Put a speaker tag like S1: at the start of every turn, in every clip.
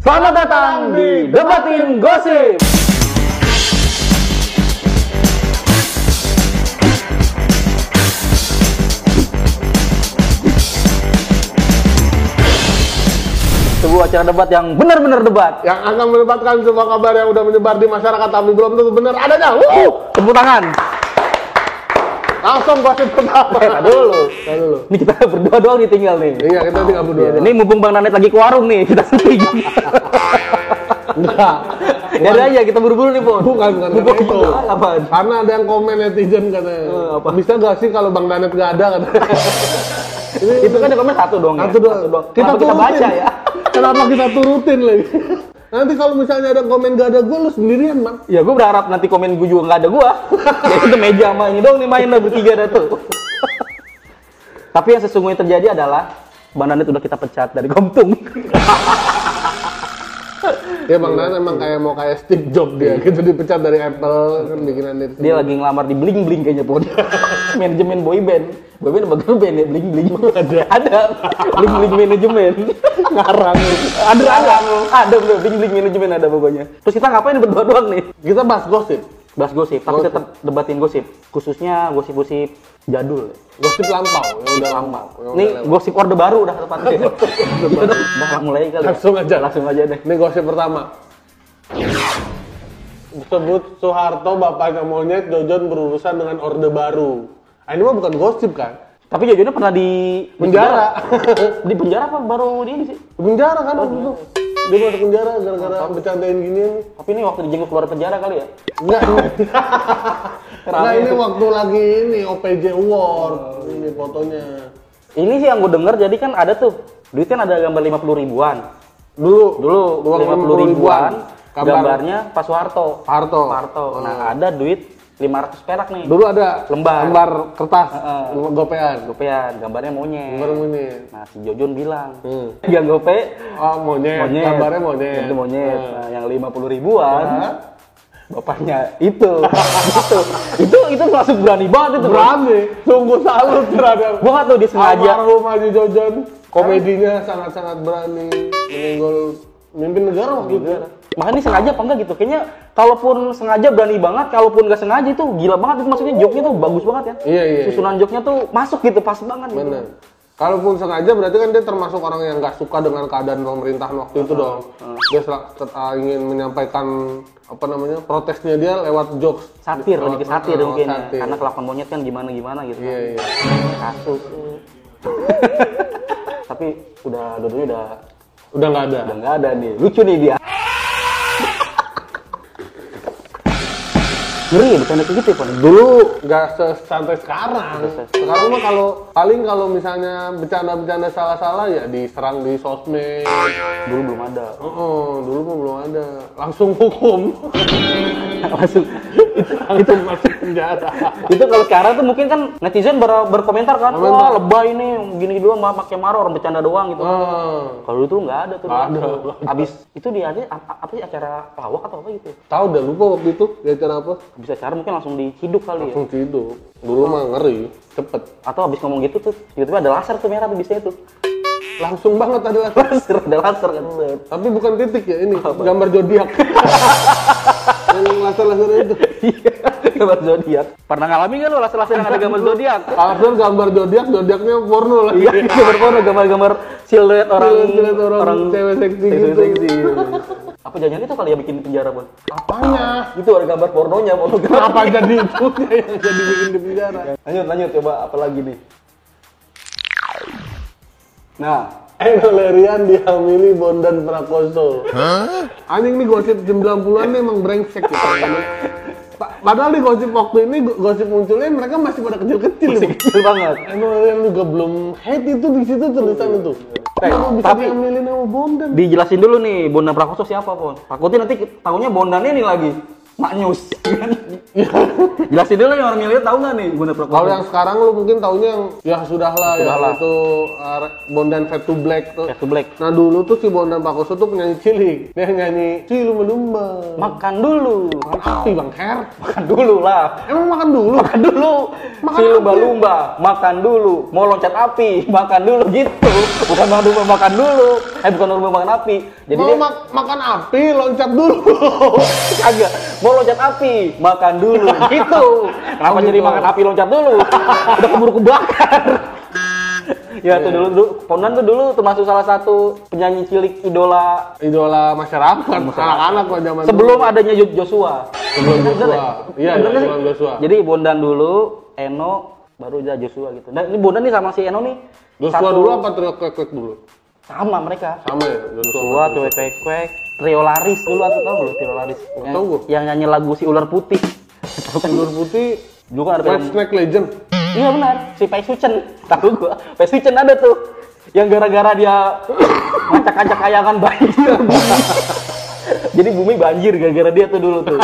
S1: Selamat datang di Debatin Gosip. Sebuah acara debat yang benar-benar debat.
S2: yang akan mendapatkan semua kabar yang udah menyebar di masyarakat tapi belum tentu benar adanya. Wuh!
S1: Uh, Tepuk tangan.
S2: Langsung pasti pertama.
S1: Eh, tak dulu.
S2: Tar dulu.
S1: Ini kita berdua doang nih tinggal nih.
S2: Iya, kita tinggal berdua.
S1: Ini mumpung Bang Nanet lagi ke warung nih, kita sendiri.
S2: Enggak.
S1: ya udah aja kita buru-buru nih, Pon.
S2: Bukan, gitu. bukan
S1: Mumpung
S2: karena itu.
S1: kita apaan?
S2: Karena ada yang komen netizen katanya.
S1: Eh, apa?
S2: Bisa gak sih kalau Bang Danet gak ada katanya. Ini
S1: Itu kan di komen satu doang ya.
S2: satu doang.
S1: Kita, kita
S2: turutin.
S1: baca ya.
S2: Kenapa kita turutin lagi? Nanti kalau misalnya ada komen gak ada gue, lu sendirian, man.
S1: Ya gue berharap nanti komen gue juga nggak ada gue. Jadi udah meja sama ini dong nih main lah bertiga dah tuh. Tapi yang sesungguhnya terjadi adalah Bang Nanet udah kita pecat dari Komtung.
S2: Ya Bang
S1: Iya.
S2: Danet emang kayak mau kayak Steve Jobs dia gitu dipecat dari Apple kan bikinan dari
S1: Dia lagi ngelamar di bling bling kayaknya pun. manajemen boyband. Boyband apa girl band ya? Bling bling. Ada. Ada. Bling bling manajemen.
S2: ngarang.
S1: ada ada. Ada bener. bling bling manajemen ada pokoknya. Terus kita ngapain berdua doang nih?
S2: Kita bahas gosip.
S1: Bahas gosip, tapi
S2: Gosip.
S1: tetap debatin gosip. Khususnya gosip-gosip jadul.
S2: Gosip lampau, yang udah lampau. yang udah
S1: Ini
S2: Oh, lewat.
S1: gosip orde baru udah tepatnya. Iya dong. Udah mulai kali. ya?
S2: Langsung aja.
S1: Langsung aja deh.
S2: Ini gosip pertama. Sebut Soeharto bapaknya monyet, Jojon berurusan dengan Orde Baru. Ah, ini mah bukan gosip kan?
S1: Tapi Jojo pernah di
S2: Penjara.
S1: Di penjara apa baru ini sih?
S2: penjara kan waktu itu. Dia masuk penjara gara-gara bercandain ginian.
S1: Tapi ini waktu dijenguk keluar penjara kali ya?
S2: Enggak. Enggak,
S1: Rame.
S2: ini waktu lagi ini OPJ Award. Ini fotonya.
S1: Ini sih yang gue denger jadi kan ada tuh duit kan ada gambar 50 ribuan.
S2: Dulu,
S1: Dulu
S2: uang
S1: 50 ribuan,
S2: Gambar.
S1: gambarnya Pak Soeharto.
S2: Soeharto. Oh.
S1: Soeharto. Nah, ada duit 500 perak nih.
S2: Dulu ada
S1: Lembar.
S2: lembar kertas,
S1: Heeh.
S2: gopean.
S1: Gopean, gambarnya monyet.
S2: Lembar ini.
S1: Nah, si Jojon bilang,
S2: Hmm.
S1: yang gope
S2: Oh, monyet.
S1: monyet.
S2: Gambarnya monyet. Ah.
S1: Itu monyet.
S2: Nah.
S1: Nah, yang 50 ribuan.
S2: Hah?
S1: Bapaknya itu. itu. Itu itu langsung berani banget itu. Bro.
S2: Berani, sungguh salut terhadap
S1: Gua nggak tahu dia sengaja.
S2: almarhum Haji Jojon. Komedinya sangat-sangat berani menyenggol mimpin negara waktu itu.
S1: Makanya ini sengaja apa enggak gitu? Kayaknya kalaupun sengaja berani banget, kalaupun nggak sengaja itu gila banget itu maksudnya joknya tuh bagus banget ya.
S2: Iya, iya,
S1: Susunan joknya tuh masuk gitu pas banget gitu.
S2: Benar. Kalaupun sengaja berarti kan dia termasuk orang yang nggak suka dengan keadaan pemerintahan waktu itu dong. Dia sel- tet- ah, ingin menyampaikan apa namanya protesnya dia lewat jokes.
S1: Satir,
S2: Lewat-
S1: lebih ke satir
S2: lewat
S1: mungkin ya.
S2: Ah, satir.
S1: Karena kelakuan monyet kan gimana-gimana gitu.
S2: Iya, iya.
S1: kan. Kasus. Tapi udah dua-duanya udah
S2: Udah nggak ada.
S1: udah nggak ada nih. Lucu nih dia. Ngeri ya bercanda kayak gitu ya, Pon.
S2: dulu nggak sesantai sekarang sekarang mah kalau paling kalau misalnya bercanda-bercanda salah-salah ya diserang di sosmed
S1: Dulu belum ada.
S2: oh dulu mah belum ada langsung hukum
S1: Langsung. itu, itu
S2: itu masuk penjara
S1: itu kalau sekarang tuh mungkin kan netizen ber- berkomentar kan, wah
S2: Komentar.
S1: lebay nih, gini doang, mah pakai marah orang bercanda doang gitu.
S2: oh.
S1: Kalau dulu tuh nggak ada tuh.
S2: Nggak ada.
S1: Abis itu dia ada apa apa sih acara lawak atau apa gitu?
S2: tahu udah lupa waktu itu dia acara apa
S1: Abis acara mungkin langsung diciduk kali ya.
S2: langsung tidur dulu mah ngeri cepet
S1: Atau abis ngomong gitu tuh, tiba-tiba ada laser tuh merah tuh biasanya tuh.
S2: langsung banget adalah
S1: Laser, ada laser kan. set.
S2: tapi bukan titik ya ini gambar zodiak yang laser-laser itu
S1: Iya, gambar zodiak. Pernah ngalamin nggak lo laser-laser yang ada gambar zodiak?
S2: alasan gambar zodiak zodiaknya porno lagi
S1: Iya, gambar porno, gambar-gambar siluet Iya, orang
S2: Siluet-siluet orang cewek seksi
S1: cewek
S2: gitu.
S1: seksi. Apa jangan itu kali ya bikin di penjara, Bon?
S2: apanya
S1: Itu ada gambar pornonya, pornografi.
S2: Kenapa jadi itu yang jadi bikin di penjara?
S1: Lanjut, lanjut coba apa lagi nih? Nah,
S2: Enol Eh, Lerian dihamili Bondan Prakoso. Anjing nih gosip jam 90-an nih emang brengsek gitu. Pa- Padahal nih gosip waktu ini go- gosip munculnya mereka masih pada kecil-kecil.
S1: masih
S2: nih.
S1: kecil banget.
S2: Enol Lerian juga belum head itu di situ tulisan itu. Kenapa bisa
S1: tapi-
S2: dihamilin sama Bondan?
S1: Dijelasin dulu nih, Bondan Prakoso siapa, Bon? Takutnya nanti tahunya Bondannya nih lagi. maknyus. Jelasin dulu yang orang milenial tahu nggak nih Bondan Prakoso?
S2: Kalau yang sekarang lu mungkin taunya yang ya sudahlah ya
S1: Sudahlah.
S2: itu uh, Re- Bondan Fat to Black tuh.
S1: Fat to Black.
S2: Nah dulu tuh si Bondan Pakoso tuh penyanyi cilik. Dia nyanyi si lu melumba.
S1: makan dulu.
S2: Makan api bang Her.
S1: Makan dulu lah.
S2: Emang makan dulu.
S1: Makan dulu.
S2: Makan
S1: si
S2: apa?
S1: lumba-lumba, makan dulu. Mau loncat api, makan dulu gitu. Bukan makan dulu, makan dulu. Eh bukan lumba makan api. Jadi
S2: Mau
S1: dia
S2: mak- makan api loncat dulu.
S1: agak mau loncat api, makan dulu gitu. Kenapa
S2: Oh,
S1: jadi
S2: gitu.
S1: makan api loncat dulu? Udah keburu kebakar. ya
S2: Iya.
S1: tuh dulu, dulu Pondan tuh dulu termasuk salah satu penyanyi cilik idola
S2: Idola masyarakat, anak-anak kok zaman
S1: Sebelum
S2: dulu.
S1: adanya Jo- Joshua.
S2: Sebelum
S1: Bener
S2: Joshua.
S1: ya?
S2: Iya,
S1: Bener
S2: iya,
S1: sih?
S2: sebelum Joshua.
S1: Jadi Bondan dulu, Eno, baru aja Joshua gitu. Dan ini Bondan nih sama si Eno nih.
S2: Joshua
S1: satu-
S2: dulu apa trio kwek kwek dulu?
S1: Sama mereka.
S2: Sama ya Joshua.
S1: Joshua, Cuek Cuek Cuek, Trio Laris dulu aku tahu loh Trio Laris. Yang,
S2: Tahu gua.
S1: yang nyanyi lagu si ular putih.
S2: Telur putih.
S1: Dulu kan ada
S2: White
S1: film.
S2: Snake Legend.
S1: Iya benar, si Pai Sucen. Tahu gua. Pai Sucen ada tuh. Yang gara-gara dia ngacak-ngacak kayangan banjir. Jadi bumi banjir gara-gara dia tuh dulu tuh.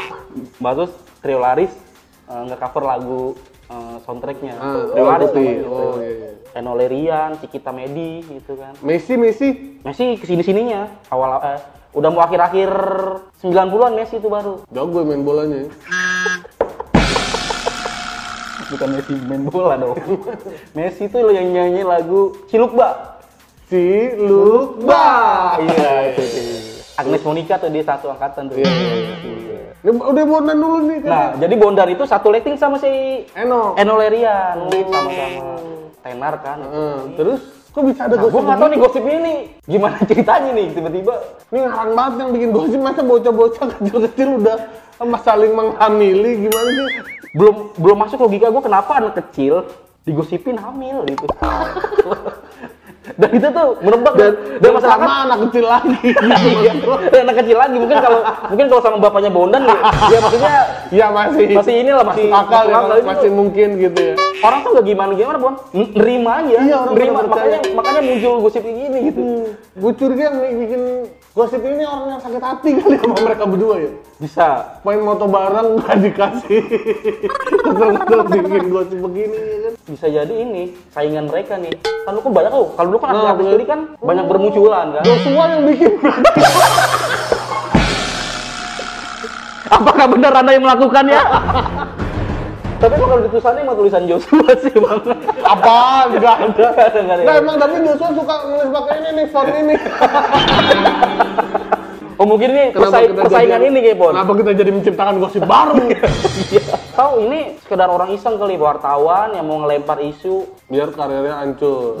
S1: Mbak Sus, Trio Laris eh, nge-cover lagu eh, soundtracknya.
S2: Ah,
S1: Trio
S2: Ular
S1: Laris
S2: Putih.
S1: namanya, Trio
S2: Oh,
S1: Laris.
S2: iya, iya.
S1: Eno Lerian, Cikita Medi gitu kan.
S2: Messi Messi.
S1: Messi kesini-sininya awal eh, udah mau akhir-akhir 90-an Messi itu baru.
S2: Jago main bolanya. ya.
S1: Bukan Messi main bola dong. Messi itu yang nyanyi lagu Cilukba.
S2: Si Lukba.
S1: Iya, itu itu. Agnes Monica tuh dia satu angkatan tuh.
S2: Iya, iya, Ini Udah bonan dulu nih kan.
S1: Nah, jadi Bondan itu satu letting sama si
S2: Eno.
S1: Eno Lerian sama-sama tenar kan.
S2: Eh, terus kok bisa ada
S1: Nah, gue
S2: gosip?
S1: nggak tahu nih gosip ini gimana ceritanya nih tiba-tiba
S2: Ini ngarang banget yang bikin gosip masa bocah-bocah kecil-kecil udah sama saling menghamili gimana sih?
S1: belum belum masuk logika gue kenapa anak kecil digosipin hamil gitu. dan itu tuh merebak
S2: Dan,
S1: dan, dan masyarakat
S2: sama anak kecil lagi.
S1: Iya, dan anak kecil lagi mungkin kalau mungkin kalau sama bapaknya Bondan ya, ya maksudnya
S2: Iya masih.
S1: Masih inilah, masih-
S2: masih akal
S1: masuk
S2: ya,
S1: akal
S2: masih,
S1: itu.
S2: mungkin gitu ya.
S1: orang tuh gak gimana gimana bon N- nerima aja
S2: Iya, orang
S1: nerima
S2: pada percaya. Hmm.
S1: makanya makanya muncul gosip kayak gini gitu
S2: Gue curiga yang bikin gosip ini orang yang sakit hati kali sama mereka berdua ya.
S1: bisa
S2: Main moto bareng gak dikasih. Kesel-kesel bikin gosip begini ya kan.
S1: bisa jadi ini saingan mereka nih kan lu kan banyak oh kalau lu kan
S2: Nah,
S1: artis
S2: bener.
S1: cilik kan banyak bermunculan kan
S2: Joshua yang bikin
S1: apakah benar anda yang melakukannya tapi emang kalau ditulisannya emang tulisan Joshua sih bang
S2: apaan? Gak ada.
S1: Nggak ada, nggak ada.
S2: Nah emang tapi Joshua suka nulis pakai ini nih, font ini.
S1: oh mungkin ini
S2: Kenapa
S1: persai-
S2: kita
S1: persaingan
S2: jadi-
S1: ini kayak bon
S2: Kenapa kita jadi menciptakan gosip baru?
S1: Iya. tahu ini sekedar orang iseng kali wartawan yang mau ngelempar isu
S2: Biar karirnya hancur.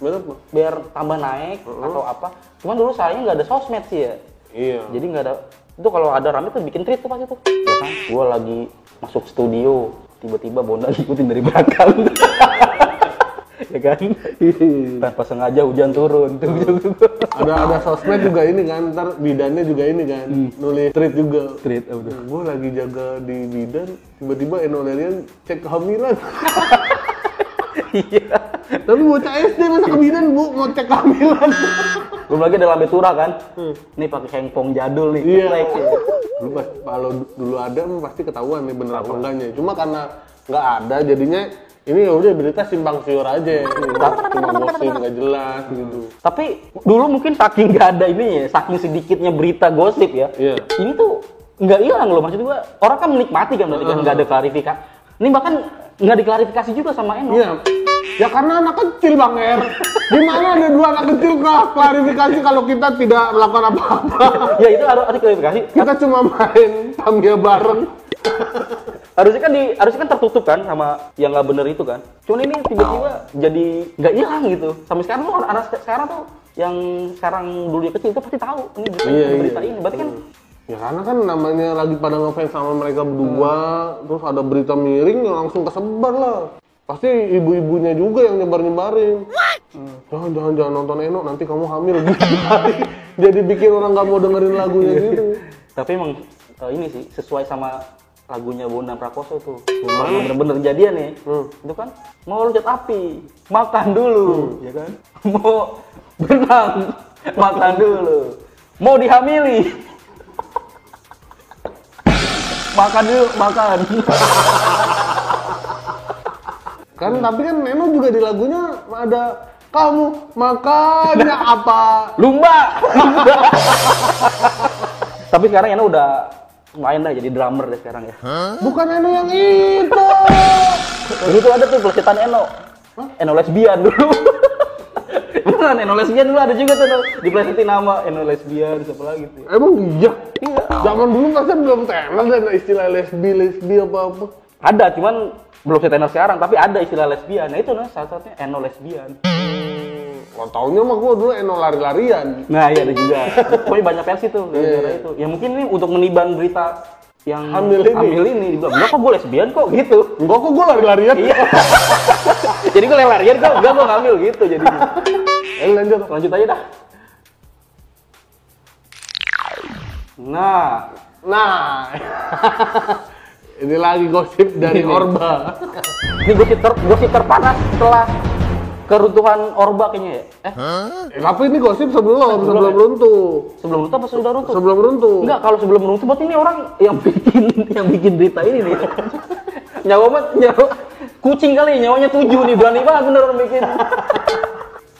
S2: Bener Pak?
S1: biar tambah naik atau apa cuman dulu sayangnya nggak ada sosmed sih ya
S2: Iya.
S1: Jadi nggak ada itu kalau ada rame tuh bikin tweet tuh pasti tuh. Ya kan? Gua lagi masuk studio, tiba-tiba Bonda ngikutin dari belakang. ya kan? Tanpa sengaja hujan turun. Tuh, tuh,
S2: Mm.
S1: tuh.
S2: Ada ada sosmed juga ini kan, ntar bidannya juga ini kan, nulis tweet juga.
S1: Tweet, oh, udah.
S2: Gue lagi jaga di bidan, tiba-tiba Enolerian cek kehamilan.
S1: Iya.
S2: Tapi bocah SD masa ke bidan bu mau cek kehamilan.
S1: Belum lagi ada lambe tura kan. Nih pakai hengpong jadul nih.
S2: Hmm. Iya.
S1: Like.
S2: Dulu pas kalau dulu ada emang pasti ketahuan nih bener apa enggaknya. Cuma karena nggak ada jadinya ini ya udah berita simpang siur aja. Cuma gosip nggak jelas gitu.
S1: Tapi dulu mungkin saking nggak ada ini ya, saking sedikitnya berita gosip ya.
S2: Iya.
S1: Ini tuh nggak hilang loh maksud gua. Orang kan menikmati kan berarti kan nggak
S2: Ah.
S1: ada klarifikasi. Ini bahkan nggak diklarifikasi juga sama Eno.
S2: Iya. Ya karena anak kecil Bang Er. Gimana ada dua anak kecil kah klarifikasi kalau kita tidak melakukan apa-apa.
S1: ya itu harus harus klarifikasi.
S2: Kita cuma main Tamiya bareng.
S1: Harusnya kan di harusnya kan tertutup kan sama yang nggak bener itu kan. Cuman ini tiba-tiba
S2: Ah.
S1: jadi nggak hilang gitu. Sampai sekarang tuh orang- anak sekarang tuh yang sekarang dulu dia kecil itu pasti tahu ini berita,
S2: Iya, iya.
S1: berita ini. Berarti kan
S2: Ya karena kan namanya lagi pada ngefans sama mereka berdua, terus ada berita miring ya langsung kesebar lah. Pasti ibu-ibunya juga yang nyebar-nyebarin. Hmm, Jangan, jangan, jangan nonton Eno, nanti kamu hamil. gitu. Jadi bikin orang nggak mau dengerin lagunya gitu.
S1: tapi emang eh, ini sih sesuai sama lagunya Bondan Prakoso tuh. Kalau bener-bener jadian nih. Itu kan mau loncat api, makan dulu, ya kan? Mau berenang, makan dulu. Mau dihamili, makan yuk, makan.
S2: Kan tapi kan Neno juga di lagunya ada kamu makannya apa?
S1: Lumba. Tapi sekarang Eno udah main dah jadi drummer deh sekarang ya.
S2: Bukan Neno yang itu.
S1: Dulu tuh ada tuh pelesetan Eno. Eno lesbian dulu. Beneran Eno lesbian dulu ada juga tuh Eno. dipelesetin nama Eno lesbian siapa lagi tuh.
S2: Emang iya. Zaman dulu pasti belum tenar dan istilah lesbi lesbi apa apa.
S1: Ada cuman belum setenar sekarang tapi ada istilah lesbian. Nah itu nah salah satunya Eno lesbian.
S2: Kalau taunya mah gua dulu Eno lari-larian.
S1: Nah iya ada juga. Pokoknya banyak versi tuh
S2: Iya,
S1: gara-gara itu. Ya mungkin ini untuk meniban berita yang
S2: Hamil ini.
S1: hamil ini. Dibilang, enggak kok gue lesbian kok gitu.
S2: Enggak kok gua lari-larian.
S1: Iya. jadi gue lelarian kok, enggak gue hamil gitu jadinya.
S2: Eh lanjut.
S1: Lanjut aja dah. Nah,
S2: Nah. Ini lagi gosip dari
S1: Ini.
S2: Orba.
S1: ini gosip ter gosip terpanas setelah keruntuhan Orba kayaknya ya. Eh,
S2: Eh, tapi ini gosip
S1: Sebelum
S2: sebelum sebelum
S1: ya?
S2: runtuh.
S1: sebelum itu apa sudah runtuh?
S2: Sebelum runtuh.
S1: Enggak, kalau sebelum runtuh berarti ini orang yang bikin yang bikin berita ini nih. nyawa mah nyawa kucing kali nyawanya tujuh nih berani banget bener orang bikin.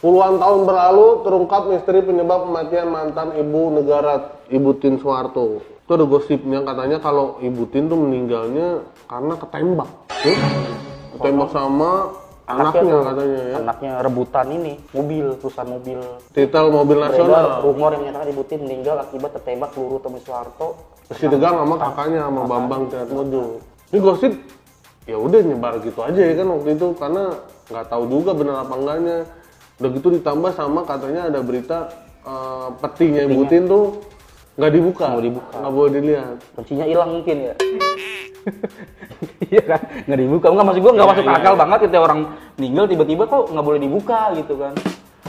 S2: Puluhan tahun berlalu terungkap misteri penyebab kematian mantan ibu negara Ibu Tin Soeharto. Itu ada gosipnya katanya kalau Ibu Tin tuh meninggalnya karena ketembak. Ya? Ketembak sama anaknya katanya ya.
S1: Anaknya rebutan ini mobil perusahaan mobil
S2: Titel mobil
S1: Beredar
S2: nasional.
S1: rumor yang menyatakan Ibu Tin meninggal akibat tertembak peluru Tommy Soeharto.
S2: Terus didegang sama kakaknya sama Bambang Triatmojo. Ini gosip ya udah nyebar gitu aja ya kan waktu itu karena nggak tahu juga benar apa enggaknya. Udah gitu ditambah sama katanya ada berita eh, petinya Ibu Tin tuh nggak dibuka,
S1: Nggak dibuka.
S2: nggak boleh dilihat.
S1: Kuncinya hilang mungkin ya. Iya kan, nggak dibuka. Nggak masuk gua nggak masuk akal banget ketika orang meninggal tiba-tiba kok nggak boleh dibuka gitu kan.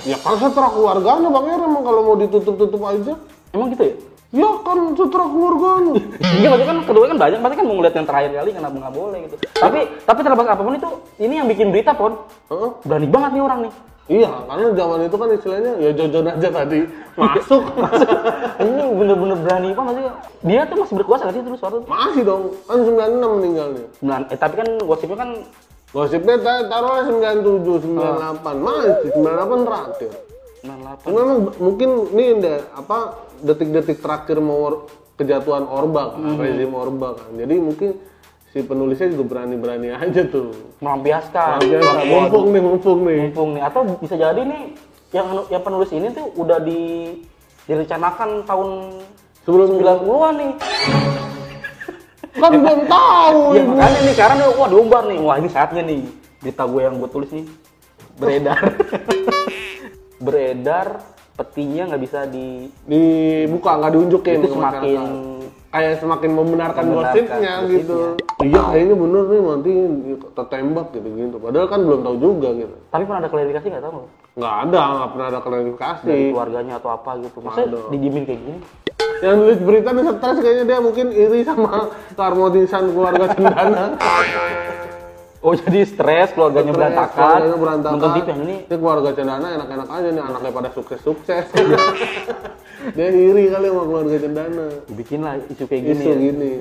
S2: Ya kan setelah keluarganya Bang Ira emang kalau mau ditutup-tutup aja.
S1: Emang gitu ya?
S2: Ya kan setelah keluarganya.
S1: Iya maksudnya kan kedua kan banyak, berarti kan mau ngeliat yang terakhir kali kenapa nggak boleh gitu. Tapi tapi terlepas apapun itu, ini yang bikin berita pon
S2: Heeh.
S1: berani banget nih orang nih.
S2: Iya, karena zaman itu kan istilahnya ya jojon aja tadi. Masuk.
S1: ini bener-bener berani banget sih. Dia tuh masih berkuasa nggak sih terus waktu itu?
S2: Masih dong, kan 96 meninggalnya.
S1: Nah, eh, tapi kan gosipnya kan
S2: Gosipnya ta- taruhlah 97,
S1: Ah.
S2: 98, masih 98 terakhir.
S1: 98.
S2: Cuma emang b- mungkin nih nda, apa detik-detik terakhir mau or- kejatuhan Orba kan,
S1: Hmm.
S2: rezim Orba kan. Jadi mungkin si penulisnya juga berani-berani aja tuh.
S1: melampiaskan.
S2: Biasa, mumpung nih, mumpung nih.
S1: Mumpung nih atau bisa jadi nih yang anu, yang penulis ini tuh udah di direncanakan tahun
S2: Sebelum
S1: 90-an nih.
S2: kan belum tahu
S1: Ya
S2: ibu.
S1: makanya nih karena nih, wah diumbar nih. Wah ini saatnya nih berita gue yang gue tulis nih beredar. beredar petinya nggak bisa di
S2: dibuka nggak diunjukin
S1: itu
S2: ke
S1: semakin
S2: masyarakat. kayak semakin membenarkan,
S1: Membenarkan
S2: gosipnya,
S1: gosipnya.
S2: gitu iya kayaknya bener nih nanti tertembak gitu gitu padahal kan belum tahu juga gitu
S1: tapi pernah ada klarifikasi nggak tahu
S2: nggak ada nggak pernah ada klarifikasi
S1: dari keluarganya atau apa gitu
S2: Ada.
S1: maksudnya dijamin kayak gini
S2: yang nulis berita nih stres kayaknya dia mungkin iri sama keharmonisan keluarga cendana
S1: oh jadi stres keluarganya
S2: Stres,
S1: berantakan
S2: keluarganya berantakan
S1: nonton tip yang ini
S2: Ini keluarga cendana enak-enak aja nih anaknya pada sukses-sukses dia iri kali sama keluarga cendana
S1: dibikinlah isu kayak gini
S2: isu
S1: ya.
S2: gini.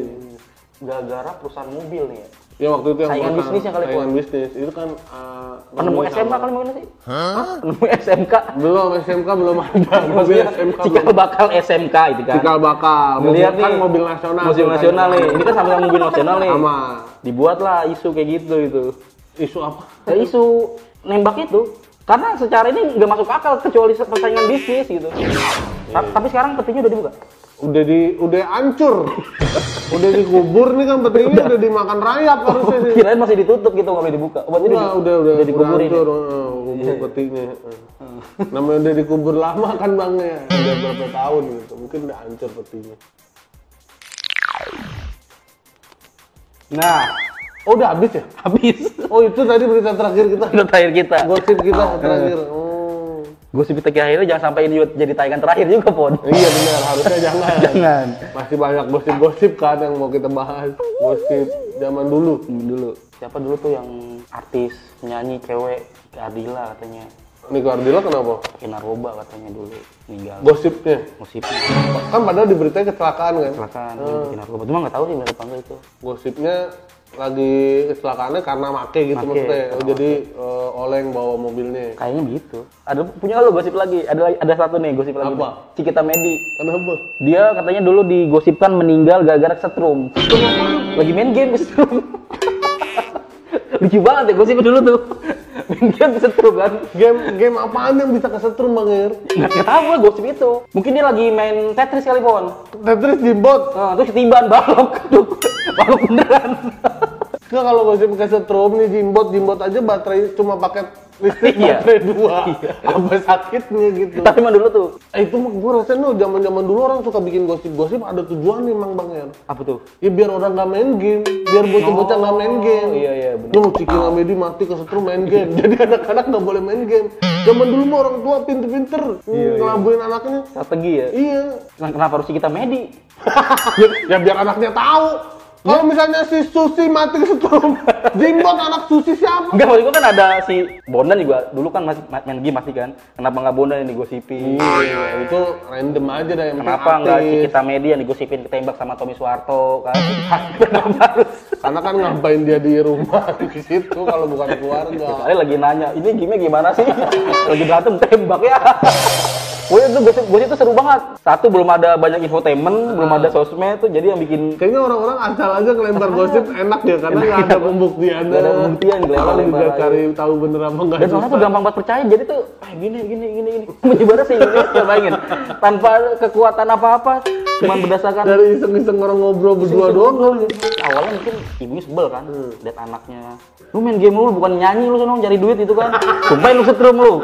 S1: gara-gara perusahaan mobil nih ya.
S2: Ya waktu itu yang
S1: Saingan
S2: perusahaan-
S1: bisnisnya kali,
S2: saingan bisnis itu kan uh,
S1: penemu SMK kali mungkin sih penemu SMK
S2: belum SMK belum ada mobil
S1: maksudnya
S2: SMK
S1: cikal
S2: belum
S1: bakal SMK itu kan
S2: cikal bakal mobil
S1: Lihat
S2: kan
S1: nih,
S2: mobil nasional
S1: mobil
S2: ceritanya.
S1: nasional nih ini kan sama-sama mobil nasional nih
S2: sama
S1: dibuatlah isu kayak gitu itu
S2: isu apa
S1: ya isu nembak itu karena secara ini nggak masuk akal kecuali se- persaingan bisnis gitu
S2: Iya.
S1: Ta- tapi sekarang petinya udah dibuka
S2: udah di udah hancur udah dikubur nih kan petinya udah dimakan rayap harusnya sih
S1: kirain masih ditutup gitu nggak boleh dibuka obat ini
S2: udah Nah, udah udah, udah
S1: dikuburin ya?
S2: hancur heeh, kubur petinya heeh. namanya udah dikubur lama kan bang ya udah berapa tahun gitu mungkin udah hancur petinya
S1: nah
S2: oh udah habis ya
S1: habis
S2: oh itu tadi berita terakhir kita
S1: itu terakhir kita
S2: gosip kita terakhir oh
S1: gue sih akhirnya jangan sampai ini jadi tayangan terakhir juga pon
S2: Iya benar, harusnya jangan.
S1: Jangan.
S2: Masih banyak gosip-gosip kan yang mau kita bahas. Gosip zaman dulu.
S1: dulu siapa dulu tuh yang artis penyanyi cewek Adila katanya
S2: Nick Ardila kenapa?
S1: Pakai narkoba katanya dulu meninggal.
S2: Gosipnya.
S1: Musibnya
S2: Kan padahal di beritanya kecelakaan kan?
S1: kecelakaan dia bikin narkoba. Cuma nggak tahu sih benar apa enggak itu.
S2: Gosipnya lagi kecelakaannya karena make
S1: Make,
S2: gitu
S1: Oh,
S2: maksudnya.
S1: karena
S2: Jadi eh, oleng bawa mobilnya.
S1: Kayaknya begitu. Ada punya lo gosip lagi. Ada lagi- ada satu nih gosip lagi.
S2: Apa?
S1: nih. Cikita Medi.
S2: Kenapa?
S1: Dia katanya dulu digosipkan meninggal gara-gara setrum. Lagi main game setrum. Lucu banget ya gosipnya dulu tuh. Main game setrum kan.
S2: Game game apaan yang bisa kesetrum Bang Ir?
S1: Nggak nggak tahu gue gosip itu. Mungkin dia lagi main Tetris kali pon.
S2: Tetris di bot.
S1: Nah, terus ketibaan balok. Tuh, balok beneran.
S2: Nggak, kalau gosip kesetrum nih jimbot jimbot aja baterai cuma pakai listrik
S1: Iya.
S2: baterai dua. Apa sakitnya gitu?
S1: Tapi emang dulu tuh.
S2: Eh, itu mah gue rasain loh zaman zaman dulu orang suka bikin gosip-gosip ada tujuan emang Bang Ir.
S1: Apa tuh?
S2: Ya biar orang nggak main game, biar bocah-bocah nggak main game.
S1: iya, iya, benar.
S2: Lu Ciki Medi mati kesetrum main game. Jadi anak-anak nggak boleh main game. Zaman dulu mah orang tua pinter-pinter
S1: Iya,
S2: ngelabuin anaknya.
S1: Strategi ya.
S2: Iya.
S1: Nah, kenapa harus kita medi?
S2: ya, ya biar anaknya tahu. Kalau
S1: Ya.
S2: misalnya si Susi mati kesetrum, jimbot anak Susi siapa?
S1: Enggak, maksud gua kan ada si Bondan juga. Dulu kan masih ma- main game pasti kan. Kenapa nggak Bondan yang digosipin?
S2: Iya, itu random aja dah yang penting
S1: Kenapa nggak si
S2: aktif.
S1: kita medi yang digosipin ketembak sama Tommy Soeharto kan? Kenapa harus?
S2: Karena kan ngapain dia di rumah di situ kalau bukan keluarga.
S1: Kali lagi nanya, ini game gimana sih? lagi berantem tembak ya. Pokoknya tuh gosip, gosip tuh seru banget. Satu belum ada banyak infotainment, belum ada sosmed tuh jadi yang bikin
S2: Kayaknya orang-orang asal aja ngelempar gosip enak ya karena nggak ada pembuktiannya.
S1: Nggak ada pembuktian, dilempar-
S2: Orang juga
S1: lempar aja.
S2: cari tahu bener apa nggak.
S1: dan orang tuh gampang banget percaya jadi tuh ah, gini gini gini gini menyebar sih Indonesia bayangin tanpa kekuatan apa apa cuman berdasarkan
S2: Dari iseng-iseng orang ngobrol berdua doang kali.
S1: awalnya mungkin ibunya sebel kan lihat anaknya lu main game lu bukan nyanyi lu seneng cari duit itu kan sumpah lu setrum lu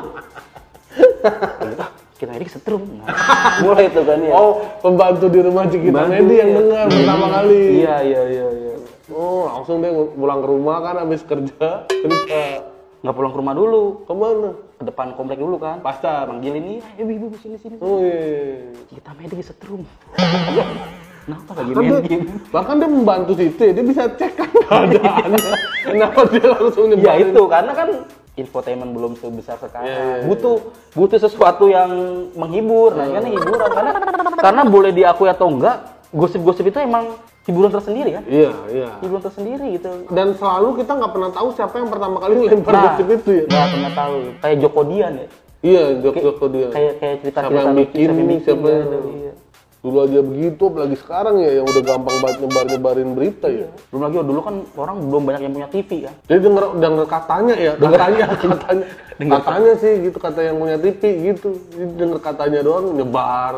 S1: Ah, kita ini setrum Nah, mulai itu kan ya
S2: Oh, pembantu di rumah Cikita
S1: Pembantu,
S2: Medi yang
S1: iya.
S2: dengar pertama kali.
S1: iya iya iya iya
S2: Oh, langsung dia pulang ke rumah kan habis kerja. Cerita
S1: nggak pulang ke rumah dulu
S2: kemana?
S1: ke depan komplek dulu kan
S2: Pasar.
S1: panggilin nih "Eh, ibu ibu sini sini
S2: Oh iya.
S1: kita main di setrum Iya. kenapa lagi
S2: Kan
S1: main
S2: dia-
S1: game
S2: bahkan dia membantu situ ya, dia bisa cek kan keadaannya. Kenapa dia langsung
S1: Ya
S2: nyebarin?
S1: itu karena kan infotainment belum sebesar sekarang.
S2: Iya, iya, iya.
S1: Butuh butuh sesuatu yang menghibur. Nah, ini
S2: Iya.
S1: kan hiburan karena karena boleh diakui atau enggak, gosip-gosip itu emang hiburan tersendiri kan?
S2: Iya, iya.
S1: Hiburan tersendiri gitu.
S2: dan selalu kita nggak pernah tahu siapa yang pertama kali lempar
S1: Nah,
S2: gosip itu ya
S1: nggak pernah tahu. Kayak Joko Dian ya.
S2: iya jok joko dia
S1: Kayak kayak cerita-cerita
S2: Siapa yang
S1: lucu,
S2: bikin,
S1: siapa yang bikin,
S2: siapa yang-
S1: gitu, iya.
S2: dulu aja begitu apalagi sekarang ya yang udah gampang banget nyebar nyebarin berita ya
S1: Belum lagi oh, dulu kan orang belum banyak yang punya TV kan.
S2: jadi denger denger katanya ya katanya katanya
S1: Denger.
S2: katanya sih gitu kata yang punya tv gitu Jadi denger katanya doang nyebar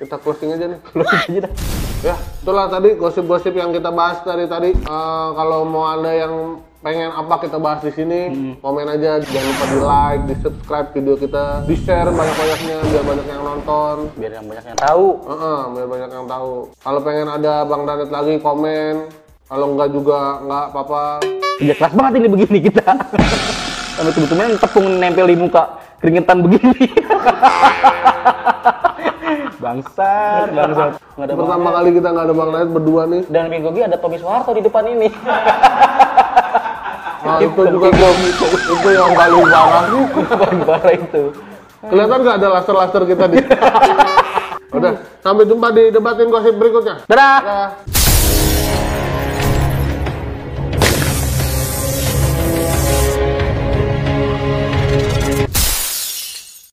S2: kita closing aja nih
S1: Aja dah.
S2: ya itulah tadi gosip-gosip yang kita bahas dari tadi Eh, kalau mau ada yang pengen apa kita bahas di sini
S1: Hmm.
S2: komen aja jangan lupa di like di subscribe video kita di share banyak-banyaknya biar banyak yang nonton
S1: Biar yang banyak yang tahu.
S2: Heeh, biar banyak yang tahu kalau pengen ada bang Danet lagi komen kalau enggak juga enggak apa-apa
S1: Kerja keras banget ini begini kita. Sampai kebetulan tepung nempel di muka keringetan begini. bangsat, bangsat. Nggak ada
S2: pertama kali kita nggak ada bang Danet berdua nih
S1: Dan Bigogi ada Tommy Soeharto di depan ini.
S2: Nah, itu juga itu yang paling parah
S1: Paling parah itu.
S2: kelihatan nggak ada laser-laser kita di udah sampai jumpa di debatin gosip berikutnya
S1: Dadah.
S2: Dadah.